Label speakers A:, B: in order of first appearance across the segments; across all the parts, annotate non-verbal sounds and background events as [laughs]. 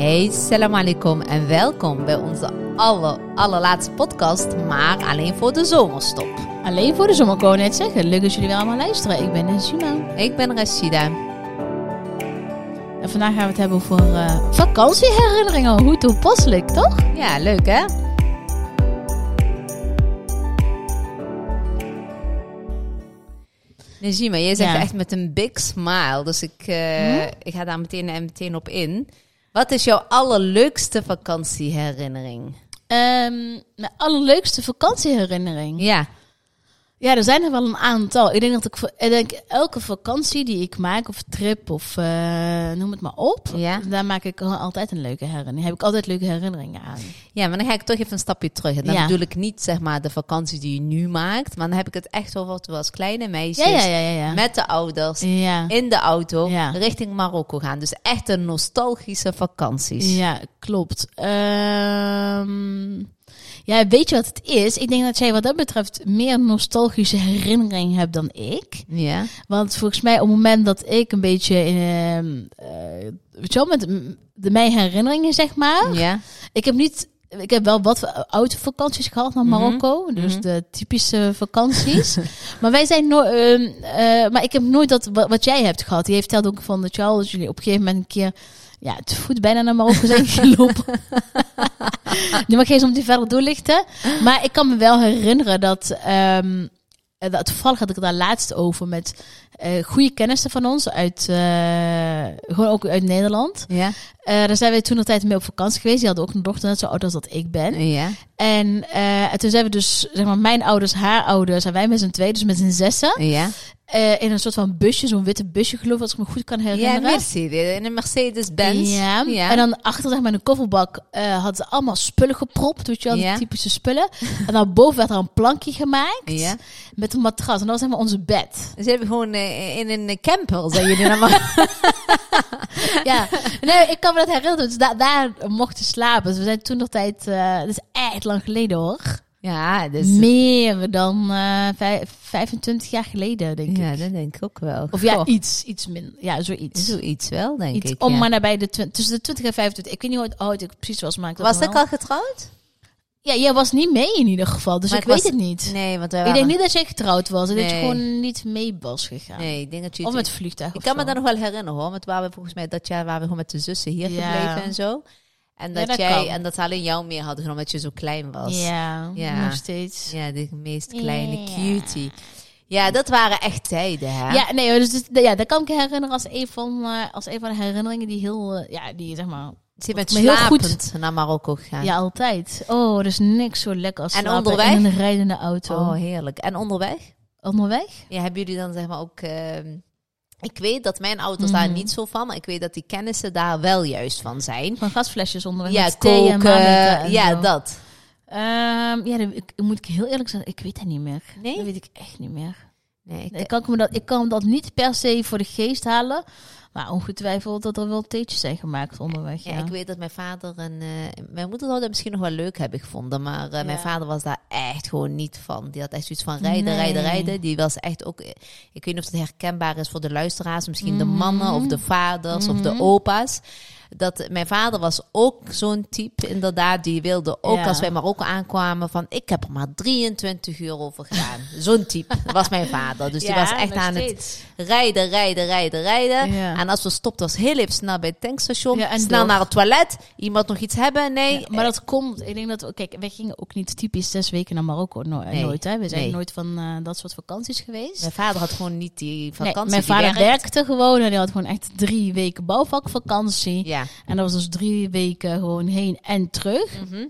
A: Hey, salam alaikum en welkom bij onze aller, allerlaatste podcast, maar alleen voor de zomerstop.
B: Alleen voor de zomer, ik wou net zeggen. Leuk dat jullie weer allemaal luisteren. Ik ben Nazima.
A: Ik ben Rashida.
B: En vandaag gaan we het hebben over eh, vakantieherinneringen. Hoe toepasselijk, toch?
A: Ja, leuk hè? Najima, jij zegt
B: Ja.
A: echt met een big smile, dus ik, eh, ik ga daar meteen, en meteen op in. Wat is jouw allerleukste vakantieherinnering?
B: Ehm mijn allerleukste vakantieherinnering.
A: Ja,
B: Ja, er zijn er wel een aantal. Ik denk dat ik, voor- ik denk elke vakantie die ik maak, of trip, of eh, noem het maar op.
A: Ja.
B: Daar maak ik al- altijd een leuke herinnering. Heb ik altijd leuke herinneringen aan.
A: Ja, maar dan ga ik toch even een stapje terug. En dan
B: Ja.
A: bedoel ik niet zeg maar de vakantie die je nu maakt, maar dan heb ik het echt over toen we als kleine meisjes
B: Ja, ja, ja, ja. ja.
A: met de ouders
B: ja.
A: in de auto
B: Ja.
A: richting Marokko gaan. Dus echt een nostalgische vakanties.
B: Ja, klopt. Ehm, ja, weet je wat het is? Ik denk dat jij wat dat betreft meer nostalgische herinnering hebt dan ik.
A: Ja.
B: Want volgens mij op het moment dat ik een beetje... ehm, eh, weet je wel, met m- de, mijn herinneringen, zeg maar.
A: Ja.
B: Ik heb niet... Ik heb wel wat oude vakanties gehad naar
A: Mhm.
B: Marokko. Dus
A: Mhm.
B: de typische
A: [laughs]
B: vakanties. maar wij zijn nooit... ehm, eh, maar ik heb nooit dat wat, wat jij hebt gehad. Je vertelde ook van dat, je al, dat jullie op een gegeven moment een keer... Ja, te voet bijna naar
A: [laughs]
B: Marokko zijn gelopen. nu mag je eens om die verder doorlichten. Maar ik kan me wel herinneren dat... ehm, eh, dat toevallig had ik het daar laatst over met eh, goede kennissen van ons. Uit, eh, gewoon ook uit Nederland.
A: Ja.
B: Eh, daar zijn we toen een tijd mee op vakantie geweest. Die hadden ook een dochter net zo oud als dat ik ben.
A: Ja.
B: En, eh, en toen zijn we dus, zeg maar, mijn ouders, haar ouders en wij met z'n tweeën, dus met z'n zessen,
A: Ja.
B: eh, in een soort van busje, zo'n witte busje geloof ik, als ik me goed kan
A: Ja,
B: herinneren.
A: Mercedes. In een Mercedes-Benz.
B: Ja. En dan achter zeg maar, in een kofferbak eh hadden ze allemaal spullen gepropt, weet je wel, die
A: Ja.
B: typische spullen. [laughs] En dan boven werd er een plankje gemaakt
A: Ja.
B: met een matras. En dat was zeg maar onze
A: [laughs]
B: bed.
A: Ze hebben gewoon eh, in een camper, zijn jullie
B: [laughs]
A: naar Marokko.
B: ja. Nee, ik kan me dat herinneren. Dus da- daar mochten slapen. Dus we zijn toen nog tijd, eh, dat is echt lang geleden hoor.
A: Ja, dus...
B: Meer dan eh, vij- 25 jaar geleden, denk ik.
A: Ja, dat denk ik ook wel.
B: Of ja,
A: Goh,
B: iets, iets minder. Ja, zoiets.
A: zoiets wel, denk
B: Iets
A: ik.
B: om
A: ja.
B: maar nabij de twen- tussen de 20 en 25. Ik weet niet hoe oud ik precies was, maar ik
A: Was
B: dat
A: ik al getrouwd?
B: Ja, jij was niet mee in ieder geval, dus
A: Maar
B: ik
A: ik
B: weet
A: was-
B: het niet.
A: Nee, want wij
B: ik
A: waren...
B: denk niet dat jij getrouwd was en dat je
A: Nee.
B: gewoon niet mee was gegaan.
A: Nee, ik denk dat je
B: Of
A: het-
B: met vliegtuig
A: Ik
B: of
A: kan me
B: zo.
A: dat nog wel herinneren hoor. Want waren we volgens mij dat jaar waren we gewoon met de zussen hier
B: Ja.
A: gebleven en zo. En
B: Ja,
A: dat,
B: dat
A: jij
B: kan.
A: en dat ze alleen jou meer hadden genomen omdat je zo klein was.
B: Ja,
A: Ja.
B: nog steeds. Ja.
A: Ja, de meest kleine
B: Ja.
A: cutie. Ja, dat waren echt tijden hè.
B: nee, dus, dus- ja, dat kan ik herinneren als een van, eh, als een van de herinneringen die heel, eh, ja, die zeg maar,
A: Ze bent
B: me heel
A: slapend naar Marokko gegaan.
B: ja, altijd. Oh, er is niks zo lekker als
A: En
B: slapen
A: onderweg?
B: in een rijdende auto.
A: Oh, heerlijk. En onderweg?
B: Onderweg?
A: Ja, hebben jullie dan zeg maar ook... ehm, ik weet dat mijn ouders daar
B: Mhm.
A: niet zo van, maar ik weet dat die kennissen daar wel juist van zijn.
B: Van gasflesjes onderweg.
A: Ja,
B: met thee en maandenthee
A: koken.
B: en
A: Ja,
B: zo.
A: dat.
B: Ehm, ja, dan- ik, moet ik heel eerlijk zijn, ik weet dat niet meer.
A: Nee?
B: Dat weet ik echt niet meer.
A: Nee, ik-
B: Ik kan, me dat, ik kan dat niet per se voor de geest halen. Maar ongetwijfeld dat er wel theetjes zijn gemaakt onderweg. Ja,
A: Ja, ik weet dat mijn vader en eh, mijn moeder zou dat misschien nog wel leuk hebben gevonden, maar eh, mijn
B: Ja.
A: vader was daar echt gewoon niet van. Die had echt zoiets van rijden,
B: Nee.
A: rijden, rijden. Die was echt ook, eh, ik weet niet of het herkenbaar is voor de luisteraars, misschien
B: Mhm.
A: de mannen of de vaders of de opa's. Dat mijn vader was ook zo'n type, inderdaad. Die wilde ook
B: Ja.
A: als wij Marokko aankwamen van ik heb er maar 23 uur over gedaan. zo'n type was mijn vader. Dus die was echt aan het rijden, rijden, rijden, rijden.
B: Ja.
A: En als we stopten, was heel even snel bij het tankstation.
B: Ja, en
A: snel
B: door.
A: naar het toilet. Iemand nog iets hebben? Nee. eh,
B: Ja, maar dat komt, ik denk dat, we- kijk, wij gingen ook niet typisch zes weken naar Marokko, no- eh,
A: Nee,
B: nooit hè. We zijn
A: nee.
B: nooit van eh, dat soort vakanties geweest.
A: Eh, Mijn vader had gewoon niet die
B: Nee,
A: vakantie.
B: mijn
A: die
B: vader
A: werk-
B: werkte gewoon en die had gewoon echt drie weken bouwvakvakantie.
A: Ja.
B: En dat was dus drie weken gewoon heen en terug.
A: Mhm.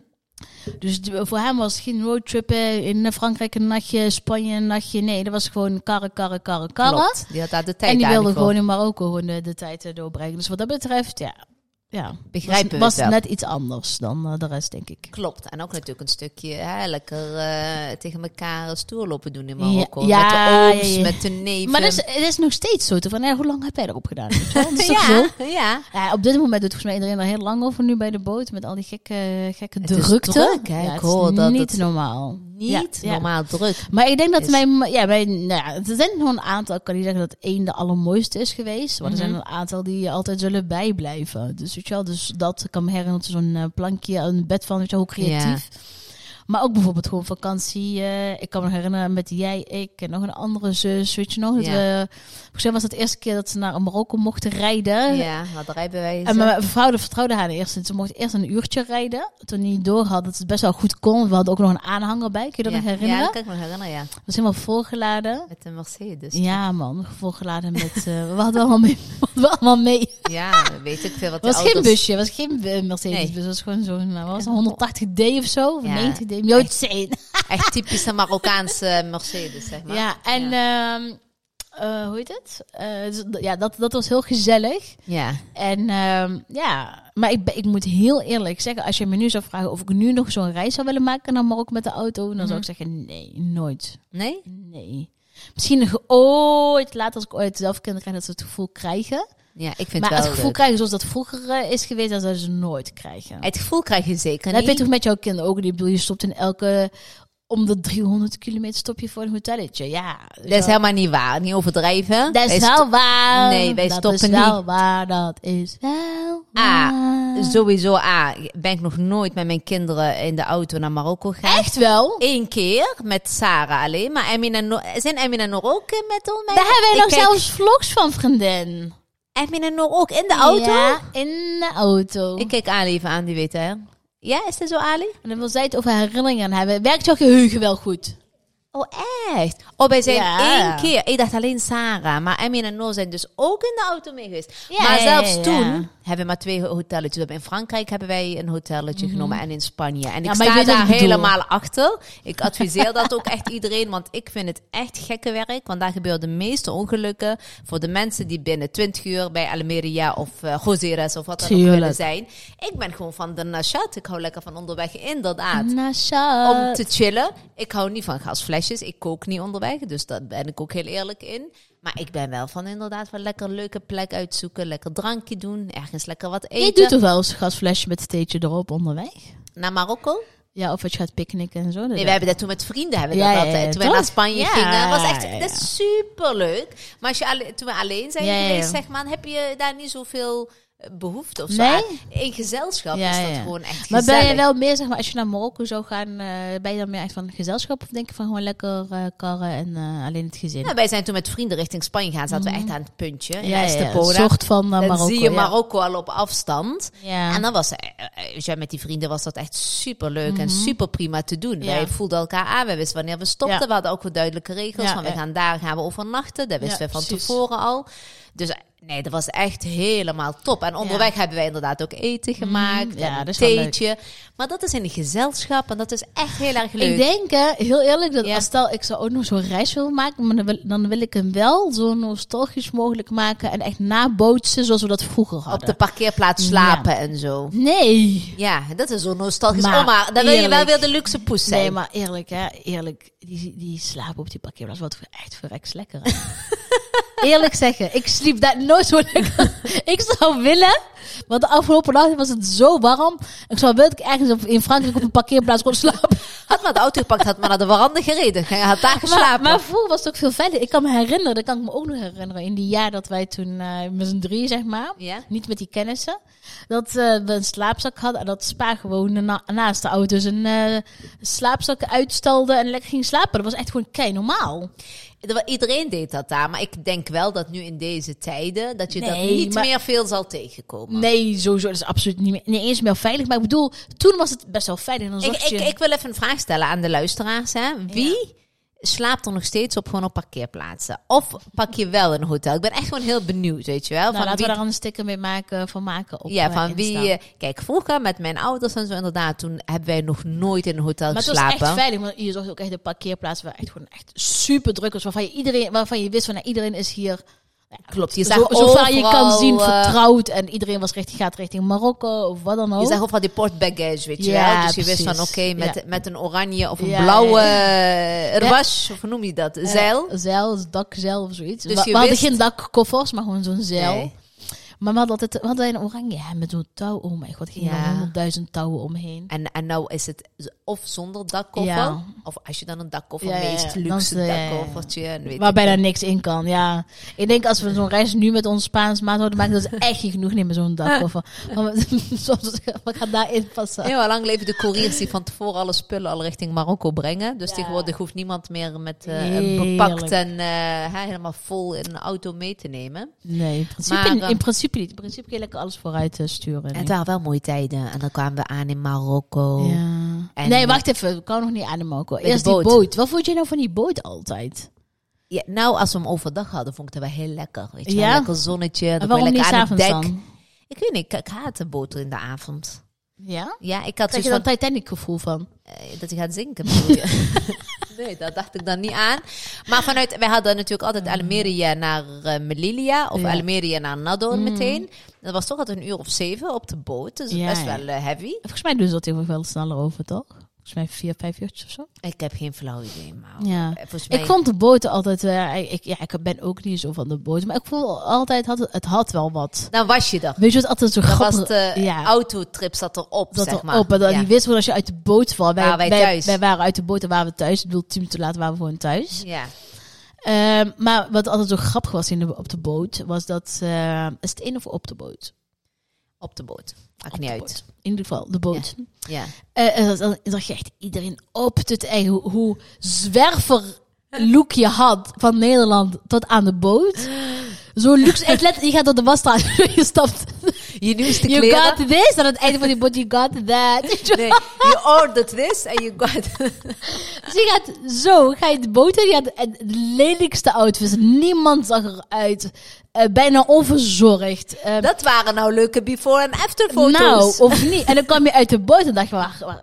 B: Dus d- voor hem was het geen roadtrippen in Frankrijk een nachtje, Spanje een nachtje. Nee, dat was gewoon karren, karren, karren, karren.
A: Klopt. Die had daar de tijd
B: En die
A: aan
B: wilde
A: voor.
B: gewoon in Marokko gewoon de, de tijd eh, doorbrengen. Dus wat dat betreft, ja. ja.
A: Begrijpen we het
B: was, was
A: wel.
B: net iets anders dan eh, de rest, denk ik.
A: Klopt. En ook natuurlijk een stukje hè, lekker eh, tegen elkaar stoer lopen doen in Marokko.
B: Ja,
A: met
B: ja,
A: de ooms,
B: ja, ja.
A: met de neven.
B: Maar dat is, het is nog steeds zo. Toch? Van, ja, hoe lang heb jij erop
A: [laughs]
B: gedaan? Weet je wel? Dat is toch zo?
A: ja, ja.
B: Ja, op dit moment doet volgens mij iedereen er heel lang over nu bij de boot. Met al die gekke, gekke
A: Het is
B: drukte.
A: druk, hè?
B: Ja,
A: Ik
B: het
A: hoor
B: is
A: dat
B: niet
A: het-
B: normaal.
A: niet
B: ja.
A: normaal druk.
B: Maar ik denk dat
A: Is-
B: mijn, ja, mijn, nou ja, er zijn nog een aantal, ik kan niet zeggen dat één de allermooiste is geweest, maar er
A: Mhm.
B: zijn een aantal die altijd zullen bijblijven. Dus weet je wel, dus dat kan me herinneren, zo'n eh, plankje, een bed van, weet je wel, hoe creatief. Maar ook bijvoorbeeld gewoon vakantie. eh, ik kan me herinneren met jij, ik en nog een andere zus, weet je nog. Dat
A: Ja.
B: we, volgens mij was het de eerste keer dat ze naar Marokko mochten rijden.
A: Ja, wat rijbewijs.
B: Eh, En mijn vrouw dat vertrouwde haar eerst. Ze mocht eerst een uurtje rijden. Toen hij door had dat ze het best wel goed kon. We hadden ook nog een aanhanger bij. Kun je dat
A: ja.
B: nog herinneren?
A: Ja, dat kan ik me nog herinneren, ja.
B: was helemaal volgeladen.
A: Met de Mercedes.
B: Ja, man, volgeladen met. eh, we hadden allemaal mee. [laughs] We hadden allemaal mee. Het
A: Ja, weet ik veel wat de
B: was geen
A: auto's-
B: busje, het was geen eh, Mercedes-bus. Het was gewoon zo'n. eh, wat was het, 180D of zo, of
A: Ja.
B: 90D. Moet je ooit zien.
A: Echt typische Marokkaanse Mercedes, zeg maar.
B: Ja, en. ehm, eh, hoe heet het? Eh, dus d- ja, dat, dat was heel gezellig.
A: Ja.
B: En ehm, ja, maar ik, ben- ik moet heel eerlijk zeggen, als je me nu zou vragen of ik nu nog zo'n reis zou willen maken naar Marokko met de auto, dan
A: Mhm.
B: zou ik zeggen nee, nooit.
A: Nee?
B: Nee. Misschien nog ooit later als ik ooit zelf kinderen krijg, dat ze het gevoel krijgen.
A: Ja, ik vind
B: maar
A: het
B: het
A: wel
B: gevoel
A: leuk.
B: krijgen zoals dat vroeger eh, is geweest, dat zouden ze nooit krijgen.
A: Het gevoel krijg je zeker
B: En dat
A: niet.
B: heb je toch met jouw kinderen ook. Ik bedoel, je stopt in elke... Om de 300 kilometer stop je voor een hotelletje. Ja.
A: Dat is helemaal niet waar. Niet overdrijven.
B: Dat
A: Wij
B: is
A: sto-
B: wel waar.
A: Nee, wij
B: dat
A: stoppen
B: is wel waar. Dat is wel
A: Ah,
B: waar.
A: Sowieso, A, ben ik nog nooit met mijn kinderen in de auto naar Marokko gegaan.
B: Echt wel?
A: Eén keer met Sarah alleen. Maar Emin en Noor, zijn Emin en Noor ook eh, met ons? mee?
B: Daar hebben wij
A: Ik
B: nog
A: kijk,
B: zelfs vlogs van, vriendin.
A: Emin en Noor ook in de auto?
B: Ja, in de auto.
A: Ik kijk Ali even aan, die weet hè. Ja, is dat zo Ali?
B: En dan wil zij het over herinneringen aan hebben. Werkt jouw geheugen wel goed?
A: Oh, echt? Oh, wij zijn
B: Ja.
A: één keer. Ik dacht alleen Sarah. Maar Emmy en Noor zijn dus ook in de auto mee geweest.
B: Ja,
A: maar
B: ja, ja,
A: zelfs
B: ja.
A: toen hebben we maar twee hotelletjes. We hebben In Frankrijk hebben wij een hotelletje genomen en in Spanje. En ik
B: Mhm. maar ik
A: sta
B: weet wat
A: daar
B: je bedoelt.
A: helemaal achter. Ik adviseer dat ook echt iedereen. Want ik vind het echt gekke werk. Want daar gebeuren de meeste ongelukken. Voor de mensen die binnen 20 uur bij Almeria of eh Gozeres of wat dan ook
B: Tuurlijk.
A: willen zijn. Ik ben gewoon van de nashat. Ik hou lekker van onderweg. Inderdaad
B: Nasha.
A: om te chillen. Ik hou niet van gasflesjes. Ik kook niet onderweg. Dus daar ben ik ook heel eerlijk in. Maar ik ben wel van inderdaad wel lekker een leuke plek uitzoeken. Lekker drankje doen. Ergens lekker wat
B: Je
A: eten.
B: doet toch wel eens een gasflesje met een steentje erop onderweg?
A: Naar Marokko.
B: Ja, of als je gaat picknicken en zo. dat
A: Nee,
B: weet
A: we
B: ik.
A: hebben dat toen met vrienden hebben we
B: Ja,
A: dat
B: ja,
A: altijd.
B: ja,
A: toen wij
B: toch?
A: naar Spanje
B: Ja,
A: gingen. was echt
B: ja, ja.
A: dat is superleuk. Maar als je alle- toen we alleen zijn
B: Ja, ja, ja.
A: geweest, zeg maar, heb je daar niet zoveel eh, behoefte of zo
B: Nee?
A: aan. In gezelschap
B: Ja,
A: is dat
B: ja.
A: gewoon echt
B: Maar
A: gezellig.
B: ben je wel meer, zeg maar, als je naar Marokko zou gaan, eh, ben je dan meer echt van gezelschap? Of denk je van gewoon lekker eh, karren en eh, alleen het gezin?
A: Nou, wij zijn toen met vrienden richting Spanje gegaan. Zaten
B: Mm.
A: we echt aan het puntje. In
B: een
A: Estepona.
B: soort van eh,
A: dan
B: Marokko.
A: zie je
B: ja.
A: Marokko al op afstand.
B: Ja.
A: En dan was eh, eh, ja, met die vrienden was dat echt super leuk en super prima te doen.
B: Mhm. Ja.
A: Wij voelden elkaar aan. We wisten wanneer we stopten.
B: Ja.
A: We hadden ook wel duidelijke regels.
B: Ja,
A: van we
B: ja.
A: gaan daar gaan we overnachten. Dat wisten
B: Ja,
A: we van
B: precies.
A: tevoren al. Dus eh, nee, dat was echt helemaal top. En onderweg hebben wij inderdaad ook eten gemaakt.
B: Mhm. ja,
A: en een
B: dat is wel leuk.
A: theetje. Maar dat is in een gezelschap en dat is echt heel erg leuk.
B: Ik denk, hè, heel eerlijk, dat
A: Ja.
B: als stel ik zou ook nog zo'n reis willen maken, maar dan wil, dan wil ik hem wel zo nostalgisch mogelijk maken en echt nabootsen zoals we dat vroeger
A: Op
B: hadden.
A: de parkeerplaats slapen en zo.
B: Nee.
A: Ja, dat is zo nostalgisch.
B: Maar
A: Maar, maar dan wil je wel
B: eerlijk.
A: weer de luxe poes zijn.
B: Nee, maar eerlijk, hè, eerlijk, die, die slapen op die parkeerplaats, wat voor- echt verreks lekker. hè. [laughs] eerlijk zeggen, ik sliep daar nooit zo lekker. [laughs] ik zou willen, want de afgelopen nacht was het zo warm, ik zou willen dat ik ergens op, in Frankrijk op een parkeerplaats kon slapen.
A: Had maar de auto gepakt, had maar naar de veranda gereden. Hij had daar
B: Maar,
A: geslapen.
B: maar vroeger was het ook veel verder. Ik kan me herinneren, dat kan ik me ook nog herinneren. In die jaar dat wij toen eh, met z'n drie, zeg maar,
A: Ja.
B: niet met die kennissen, dat eh, we een slaapzak hadden en dat Spa gewoon na- naast de auto's een eh, slaapzak uitstalde en lekker ging slapen. Dat was echt gewoon kei normaal.
A: Er wa- Iedereen deed dat daar. Maar ik denk wel dat nu in deze tijden... dat je dat
B: Nee,
A: niet
B: maar-
A: meer veel zal tegenkomen.
B: Nee, sowieso, dat is absoluut niet, meer, niet eens meer veilig. Maar ik bedoel, toen was het best wel veilig. Dan
A: Ik,
B: zocht je...
A: ik, ik wil even een vraag stellen aan de luisteraars. Hè. Wie slaapt er nog steeds op gewoon op parkeerplaatsen? Of pak je wel een hotel? Ik ben echt gewoon heel benieuwd, weet je wel.
B: nou, laten
A: wie
B: we daar een sticker mee maken, van maken op
A: ja,
B: eh,
A: van wie...
B: Insta.
A: eh, Kijk, vroeger met mijn ouders en zo inderdaad... toen hebben wij nog nooit in een hotel
B: Maar het was
A: geslapen.
B: echt veilig, want je zocht ook echt de parkeerplaats waar echt gewoon echt super druk was. Waarvan je, iedereen, waarvan je wist van nou, iedereen is hier. ja,
A: Klopt, je
B: zo-
A: zag
B: zover je
A: overal,
B: kan zien,
A: eh,
B: vertrouwd. En iedereen was richting, gaat richting Marokko of wat dan ook.
A: Je zag ook van die portbaggage, weet je
B: Oh? Ja,
A: wel. Dus je wist
B: precies.
A: van, oké, met,
B: Ja.
A: met een oranje of een
B: Ja,
A: blauwe
B: ja,
A: eh, rwas, of hoe noem je dat? Zeil.
B: Eh, zeil, dakzeil of zoiets.
A: Dus
B: we
A: je
B: we hadden
A: wist-
B: geen dakkoffers, maar gewoon zo'n zeil.
A: Nee.
B: Maar we hadden altijd we hadden een oranje hem met zo'n touw. Oh mijn god, gingen
A: Ja.
B: er honderdduizend touwen omheen.
A: En, en nou is het z- of zonder dakkoffer,
B: Ja.
A: of als je dan een dakkoffer,
B: Ja, ja, ja.
A: meest
B: Dan is eh,
A: luxe
B: de- ja, ja.
A: dakkoffertje. en weet
B: Waar
A: ik
B: bijna
A: veel.
B: niks in kan, ja. Ik denk als we zo'n reis nu met ons Spaans maat zouden maken,
A: [laughs]
B: dat is dus echt niet genoeg nemen zo'n dakkoffer. Want we- [laughs] Soms, wat gaat daarin passen?
A: Ja, maar lang leven de couriers die van tevoren alle spullen al richting Marokko brengen. Dus
B: Ja.
A: tegenwoordig hoeft niemand meer met eh, een bepakt en eh, hè, helemaal vol in een auto mee te nemen.
B: Nee, in principe,
A: Maar,
B: in,
A: ehm,
B: principe niet. In principe kun je lekker alles vooruit eh, sturen.
A: Het waren wel mooie tijden. En dan kwamen we aan in Marokko.
B: Ja.
A: En-
B: nee, wacht even. Ik kan nog niet aan de Marco.
A: de
B: Eerst die
A: boot.
B: boot. Wat vond je nou van die boot altijd?
A: Ja, nou, als we hem overdag hadden, vond ik dat wel heel lekker. Weet je, wel.
B: Ja?
A: lekker zonnetje. Dan kon
B: en
A: je
B: waarom niet
A: lekker aan het
B: s'avonds
A: dek.
B: dan?
A: Ik weet niet, ik, ik haatte boter in de avond.
B: Ja?
A: Ja, ik had
B: Krijg
A: zoiets
B: je
A: van,
B: dat Titanic gevoel van?
A: eh, dat hij gaat zinken. bedoel je?
B: [laughs]
A: nee, dat dacht ik dan niet aan. Maar vanuit, wij hadden natuurlijk altijd Almeria naar eh, Melilla of
B: Mm. Ja. Mm.
A: Almeria naar Nador meteen. Dat was toch altijd een uur of zeven op de boot, dus
B: Ja,
A: best
B: ja.
A: wel eh, heavy.
B: Volgens mij doen ze dat heel veel sneller over, toch? Volgens mij vier, vijf uurtjes of zo.
A: Ik heb geen flauw idee, maar
B: Ja.
A: eh, volgens mij...
B: Ik vond de boten altijd... eh, ik, ja, ik ben ook niet zo van de boten. Maar ik voel altijd... Had, het- het had wel wat.
A: Dan was je er.
B: Weet je wat altijd zo
A: Dan
B: grappig...
A: was de
B: ja.
A: autotrip zat erop,
B: dat
A: zeg
B: er
A: maar.
B: op. En dat
A: Ja.
B: die wist wel als je uit de boot valt. Wij,
A: Waren wij thuis.
B: wij waren uit de boot en waren we thuis. Ik bedoel, tien minuten later waren we gewoon thuis.
A: Ja.
B: Ehm, maar wat altijd zo grappig was in de, op de boot, was dat... eh, is het in of op de boot?
A: op de boot. Maakt
B: Op
A: niet
B: de
A: uit.
B: boot. In ieder geval, de boot.
A: Ja.
B: Eh, en dan dan zag je echt iedereen op het eigen hoe, hoe zwerver look je had van Nederland tot aan de boot. Zo luxe. Echt let, je gaat door de wasstraat, [laughs] je stapt.
A: Je nieuwste
B: You
A: kleren.
B: got this. Aan het einde van die boot, you got that.
A: Nee, you ordered this and you got...
B: [laughs]
A: [laughs]
B: Dus je gaat zo, ga je de boot in, je had het lelijkste outfits. Niemand zag eruit. Eh, bijna onverzorgd. Eh,
A: Dat waren nou leuke before en after foto's.
B: nou, of niet. En dan kwam je uit de boot en dacht je, wacht, wacht,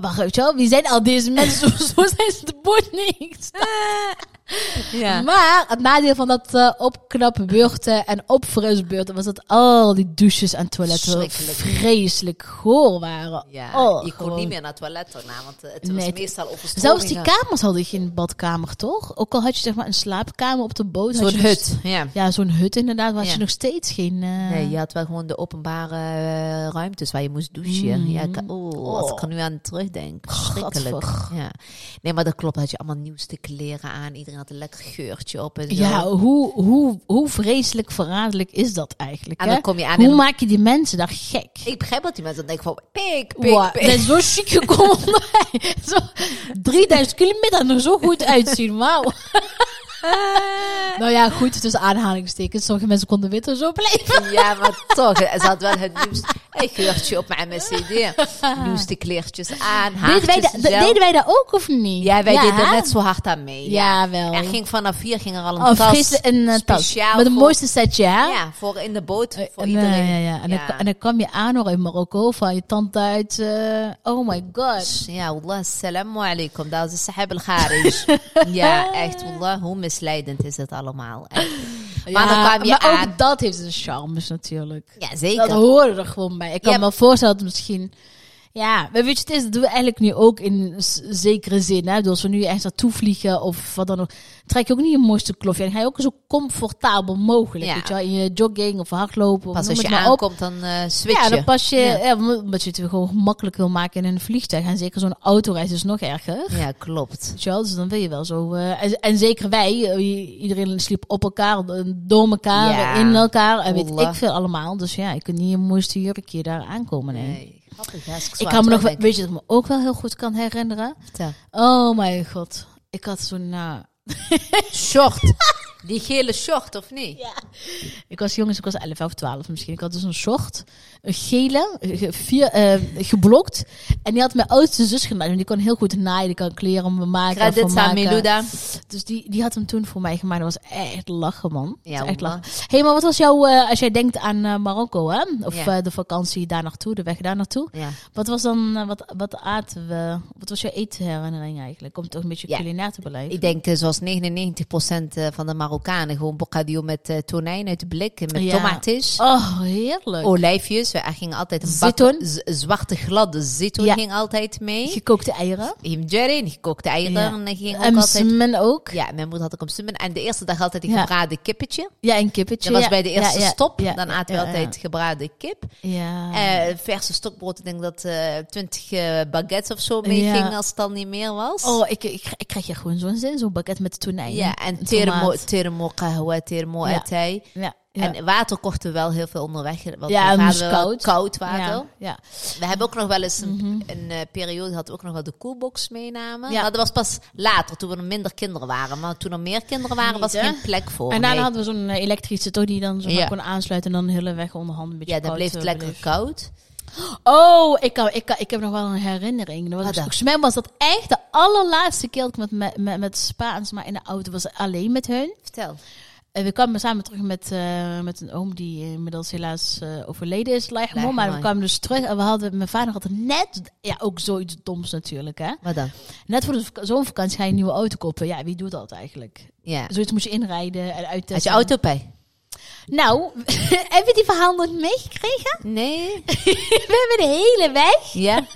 B: wacht, weet je wel, wie zijn al deze mensen? [laughs] Zo, zo zijn ze de boot niet.
A: ja.
B: oh, Maar het nadeel van dat eh, opknappen beurten en opfrisbeurten was dat al die douches en toiletten
A: Schrikkelijk.
B: vreselijk goor waren.
A: Ja,
B: Oh,
A: je kon
B: gewoon.
A: niet meer naar het toilet daarna, want eh, het was
B: Nee, het-
A: meestal overstromingen.
B: Zelfs die kamers hadden geen badkamer, toch? Ook al had je zeg maar een slaapkamer op de boot. had
A: Zo'n
B: je nog
A: eh, hut, ja.
B: Ja, zo'n hut inderdaad, waar
A: Ja.
B: je nog steeds geen... eh,
A: Nee, je had wel gewoon de openbare eh, ruimtes waar je moest
B: Mm.
A: douchen. Ja, ik- oh, als ik er nu aan terugdenk. Schrikkelijk.
B: Gadver.
A: Ja. Nee, maar dat klopt. Had je allemaal nieuwste kleren aan. Iedereen had een lekker geurtje op en zo.
B: ja, hoe, hoe, hoe vreselijk verraderlijk is dat eigenlijk?
A: En
B: hè?
A: dan kom je aan
B: hoe
A: in-
B: maak je die mensen daar gek?
A: Ik begrijp dat die mensen denken van... Pik, pik,
B: Wow,
A: pik.
B: dat is zo chic gekomen. omdat wij [laughs] zo 3000 kilometer en er zo goed uitzien.
A: [laughs]
B: Wauw. nou ja, goed, tussen aanhalingstekens. Sommige mensen konden witter zo blijven.
A: Ja,
B: [laughs]
A: maar toch. Ze had wel het nieuwste hey, geurtje op mijn MSCD. Nieuwste kleertjes aan,
B: Deden wij,
A: haartjes
B: dat-
A: en
B: dat-
A: zo.
B: deden wij dat ook of niet?
A: Ja, wij deden
B: hè?
A: net zo hard aan mee.
B: Ja, wel.
A: Er ging vanaf hier ging er al een
B: Of
A: tas.
B: gisteren een eh, tas.
A: speciaal
B: Met een
A: voor-
B: mooiste setje, hè?
A: Ja, voor in de boot,
B: Eh,
A: voor
B: en, eh,
A: iedereen.
B: ja, ja. En,
A: ja.
B: Dan, en dan kwam je aan hoor in Marokko van je tante uit. eh, oh my god.
A: Ja, wallah, assalamu alaikum. Dat is sahab al-Kharij.
B: [laughs]
A: ja, echt, wallah, hoe misleidend is het allemaal. Echt. Maar dan kwam je
B: maar
A: aan.
B: ook dat heeft zijn charmes natuurlijk.
A: Ja,
B: Dat
A: zeker.
B: hoorde er gewoon bij. Ik kan
A: Ja.
B: me wel voorstellen dat misschien... Ja, maar weet je, het is, dat doen we eigenlijk nu ook in z- zekere zin. Hè? Dus als we nu echt naartoe vliegen of wat dan ook, trek je ook niet je mooiste klofje. En ga je ook zo comfortabel mogelijk.
A: Ja.
B: Weet je wel, in je jogging of hardlopen. of
A: Pas
B: noem
A: als je
B: het maar op.
A: aankomt, dan eh switch je.
B: Ja, dan pas je,
A: Ja.
B: ja. omdat je het gewoon makkelijk wil maken in een vliegtuig. En zeker zo'n autoreis is nog erger.
A: Ja, klopt.
B: Weet je wel, dus dan wil je wel zo. eh, en, en zeker wij, eh, iedereen sliep op elkaar, eh, door elkaar,
A: Ja.
B: in elkaar. En weet
A: Oeh.
B: ik veel allemaal. Dus ja, je kunt niet je mooiste jurkje daar aankomen. Nee.
A: Nee, grappig, ja, als
B: ik
A: zo
B: kan me nog, wel-
A: terugdenk.
B: weet je, dat ik me ook wel heel goed kan herinneren.
A: Vertel.
B: Oh mijn god, ik had zo'n. nou,
A: Short. [laughs] Die gele short, of niet?
B: ik was jong, dus ik was 11 of 12 misschien. Ik had dus een short, een gele, eh, ge- vier, eh, geblokt. En die had mijn oudste zus gemaakt. En die kon heel goed naaien, die kan kleren maken. en
A: Credits aan
B: vermaken.
A: Meluda.
B: Dus die, die had hem toen voor mij gemaakt. Dat was echt lachen, man. Dat
A: Ja,
B: was echt
A: man.
B: lachen. Hé, hey, maar wat was jouw, eh, als jij denkt aan eh, Marokko, hè? Of
A: Ja.
B: eh, de vakantie daar naartoe, de weg daar naartoe.
A: Ja.
B: Wat was dan, eh, wat, wat aten we? Wat was jouw eetherinnering eigenlijk? Om toch een beetje
A: Ja.
B: culinair te blijven.
A: Ik denk eh, zoals 99% eh, van de Marokkanen. Gewoon bocadillo met eh, tonijn uit de blik. en Met
B: Ja.
A: tomates.
B: Oh, heerlijk.
A: Olijfjes. Wij gingen altijd een bak-
B: Zitoen.
A: z- zwarte gladde zitoen
B: Ja.
A: ging altijd mee.
B: Gekookte eieren.
A: Himjarin, gekookte
B: Ja.
A: eieren. en Ging ook
B: En
A: altijd...
B: men ook.
A: Ja, mijn moeder had ook een simmen. En de eerste dag altijd een
B: Ja.
A: gebraden kippetje.
B: Ja, en kippetje.
A: Dat was
B: ja.
A: bij de eerste
B: Ja, ja,
A: stop.
B: ja,
A: Dan
B: ja,
A: aten we
B: ja, ja.
A: altijd gebraden kip.
B: Ja.
A: Eh, verse stokbrood, ik denk dat eh 20 eh, baguettes of zo mee
B: Ja.
A: ging als het dan niet meer was.
B: Oh, ik, ik, ik krijg hier gewoon zo'n zin, zo'n baguette met tonijn.
A: ja, en termo,
B: thermo
A: termo kahwa, termo
B: Ja.
A: atay.
B: Ja, ja.
A: En water kochten we wel heel veel onderweg. Want
B: Ja,
A: mijn
B: het moest
A: vader wel
B: koud.
A: koud water.
B: ja, ja.
A: We hebben ook nog wel eens een, een eh, periode gehad, we ook nog wel de koelbox meenamen.
B: Ja.
A: Maar dat was pas later, toen er minder kinderen waren. Maar toen er meer kinderen waren, was er
B: Niet, hè?
A: geen plek voor.
B: En daarna
A: nee.
B: hadden we zo'n eh, elektrische toch die dan zo
A: Ja.
B: kon aansluiten en dan de hele weg onderhand een beetje
A: ja, dan
B: koud,
A: bleef het
B: eh,
A: lekker
B: bleef.
A: koud.
B: Oh, ik, kan, ik, kan, ik heb nog wel een herinnering. Dat was,
A: Wat Ah, dan?
B: volgens mij was dat echt de allerlaatste keer dat ik met, met, met, met Spaans maar in de auto was alleen met hun.
A: Vertel.
B: En we kwamen samen terug met, eh, met een oom die inmiddels helaas eh, overleden is, Lijgemo.
A: Lijgemo,
B: Maar we
A: ja.
B: kwamen dus terug en we hadden, mijn vader had net, ja ook zoiets doms natuurlijk hè.
A: Wat dan?
B: Net voor de vak- zomervakantie ga je een nieuwe auto kopen. Ja, wie doet dat eigenlijk?
A: Ja.
B: Zoiets moet je inrijden en uittesten.
A: Had je auto bij?
B: Nou, [laughs] hebben we die verhaal nog meegekregen?
A: Nee.
B: We hebben de hele weg.
A: Ja.